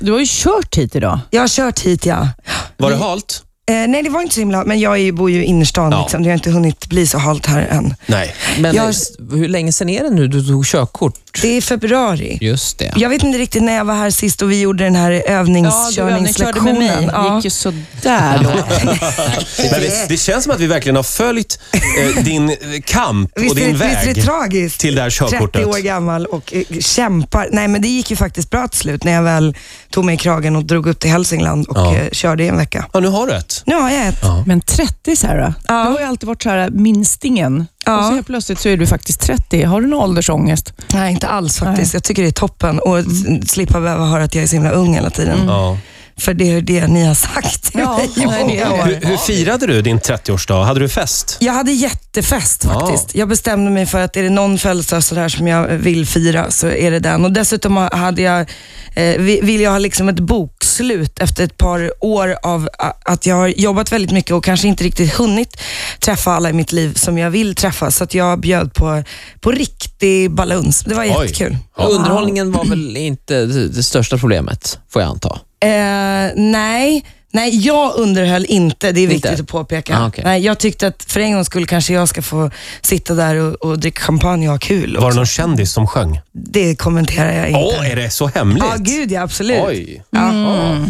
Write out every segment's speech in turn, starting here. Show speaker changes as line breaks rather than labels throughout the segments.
Du har ju kört hit idag.
Jag har kört hit ja.
Var det halt?
Eh, nej, det var inte så himla men jag är ju, bor ju i innerstan.
Ja.
Liksom. Det har inte hunnit bli så halt här än.
Nej.
Men
Jag-
eh, hur länge sedan är det nu du tog körkort?
Det är februari.
Just det.
Jag vet inte riktigt när jag var här sist och vi gjorde den här övningskörningslektionen.
Det gick ju sådär då.
Men det, det känns som att vi verkligen har följt eh, din eh, kamp och
Visst är,
din
det, visst är
väg
det tragiskt?
till det här
30
körkortet.
år gammal och eh, kämpar. Nej, men det gick ju faktiskt bra till slut när jag väl tog mig i kragen och drog upp till Hälsingland och
Ja.
eh, körde i en vecka.
Ja, nu har du ett.
Nu har jag ett.
Men 30 så här då? Du har ju alltid varit så här äh, minstingen. Och
Ja.
så helt plötsligt så är du faktiskt 30. Har du någon åldersångest?
Nej, Mm. inte alls faktiskt. Jag tycker det är toppen och s- slippa behöva höra att jag är så himla ung hela tiden.
Ja.
För det är ju det ni har sagt till
Ja,
mig i
nej, det är
många
det.
år.
Hur, hur firade du din 30-årsdag? Hade du fest?
Jag hade jättefest faktiskt. Jag bestämde mig för att är det någon födelsedag sådär som jag vill fira så är det den. Och dessutom ha- hade jag, eh, vi- vill jag ha liksom ett bokslut efter ett par år av a- att jag har jobbat väldigt mycket och kanske inte riktigt hunnit träffa alla i mitt liv som jag vill träffa. Så att jag bjöd på, på riktig balans. Det var jättekul.
Underhållningen var väl inte det det största problemet, får jag anta.
Eh, nej. Nej, jag underhöll inte. Det är viktigt
Inte?
att påpeka.
Ah, okej.
nej, jag tyckte att för en gång skulle kanske jag ska få sitta där och, och dricka champagne och ha kul.
Var det någon kändis som sjöng?
Det kommenterar jag inte.
Åh, är det så hemligt?
Ja, gud ja, absolut.
Oj. Eh,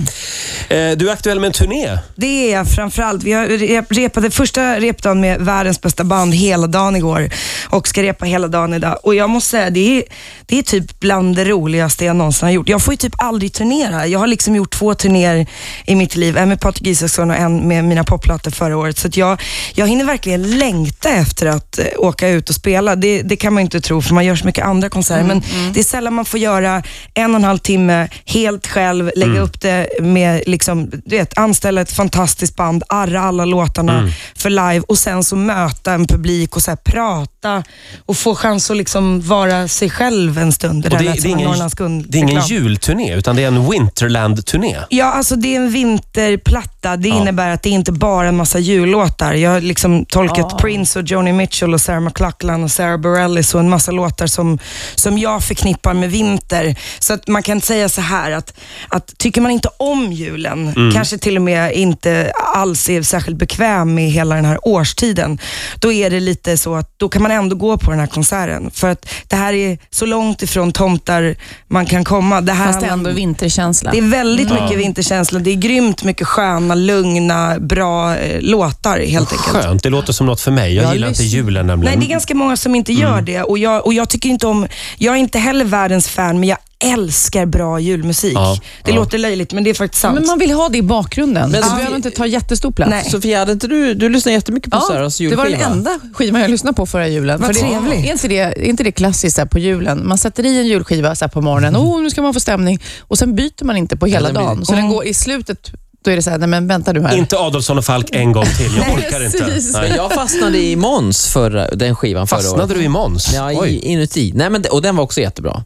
du är aktuell med en turné.
Det är jag framförallt. Vi har rep- repade första repdagen med världens bästa band hela dagen igår och ska repa hela dagen idag. Och jag måste säga, det är, det är typ bland det roligaste jag någonsin har gjort. Jag får ju typ aldrig turnera. Jag har liksom gjort två turnéer i mitt liv. En med Patrik Isaksson och en med mina popplattor förra året. Så att jag, jag hinner verkligen längta efter att eh, åka ut och spela. Det, det kan man ju inte tro för man gör så mycket andra konserter.
Mm,
men det är sällan man får göra en och en halv timme helt själv, lägga
Mm.
upp det med, liksom, du vet, anställa ett fantastiskt band, arra alla låtarna
Mm.
för live och sen så möta en publik och så här prata och få chans att liksom vara sig själv en stund. Det,
Och
där
det,
lät
det, är
som en
ingen,
Norrlands Guld-
det är ingen
reklam.
julturné, utan det är en Winterland-turné.
Ja, alltså det är en vinterplatta. Det
Ja.
innebär att det inte bara är en massa jullåtar. Jag har liksom tolkat Prince och Joni Mitchell och Sarah McLachlan och Sarah Bareilles och en massa låtar som, som jag förknippar med vinter. Så att man kan säga så här att, att tycker man inte om julen, kanske till och med inte alls är särskilt bekväm med hela den här årstiden, då är det lite så att då kan man ändå gå på den här konserten. För att det här är så långt ifrån tomtar man kan komma. Det här
Fast
handlar om-
ändå vinterkänsla.
det är väldigt mycket vinterkänsla. Det är grymt mycket sköna, lugna, bra eh, låtar helt enkelt.
Skönt, det låter som något för mig. Jag,
Jag
gillar inte
lyssnar.
julen nämligen.
Nej, det är ganska många som inte gör
Mm.
det och jag, och jag tycker inte om... Jag är inte heller världens fan, men jag älskar bra julmusik.
Ja,
det
ja.
låter löjligt, men det är faktiskt sant.
Men man vill ha det i bakgrunden.
Men
Men, det
så-
behöver inte ta jättestor plats.
Nej.
Sofia, hade inte du, du lyssnade jättemycket på
Ja,
Saras
det
julskiva.
var den enda skivan jag lyssnade på förra julen.
Vad
För det,
trevligt.
Är inte det, är inte det klassiskt så här på julen? Man sätter i en julskiva så här på morgonen, oh, nu ska man få stämning, och sen byter man inte på hela
den Mm. blir- Mm.
dagen. Så den går i slutet, då är det så här, nej men vänta nu här.
Inte Adolfsson och Falk en gång till. Jag
Nej,
orkar inte.
precis.
Nej.
Men jag fastnade i Måns, förra, den skivan förra året.
Fastnade du i Måns?
Ja, i-
Oj.
inuti. Nej, men, det- och den var också jättebra.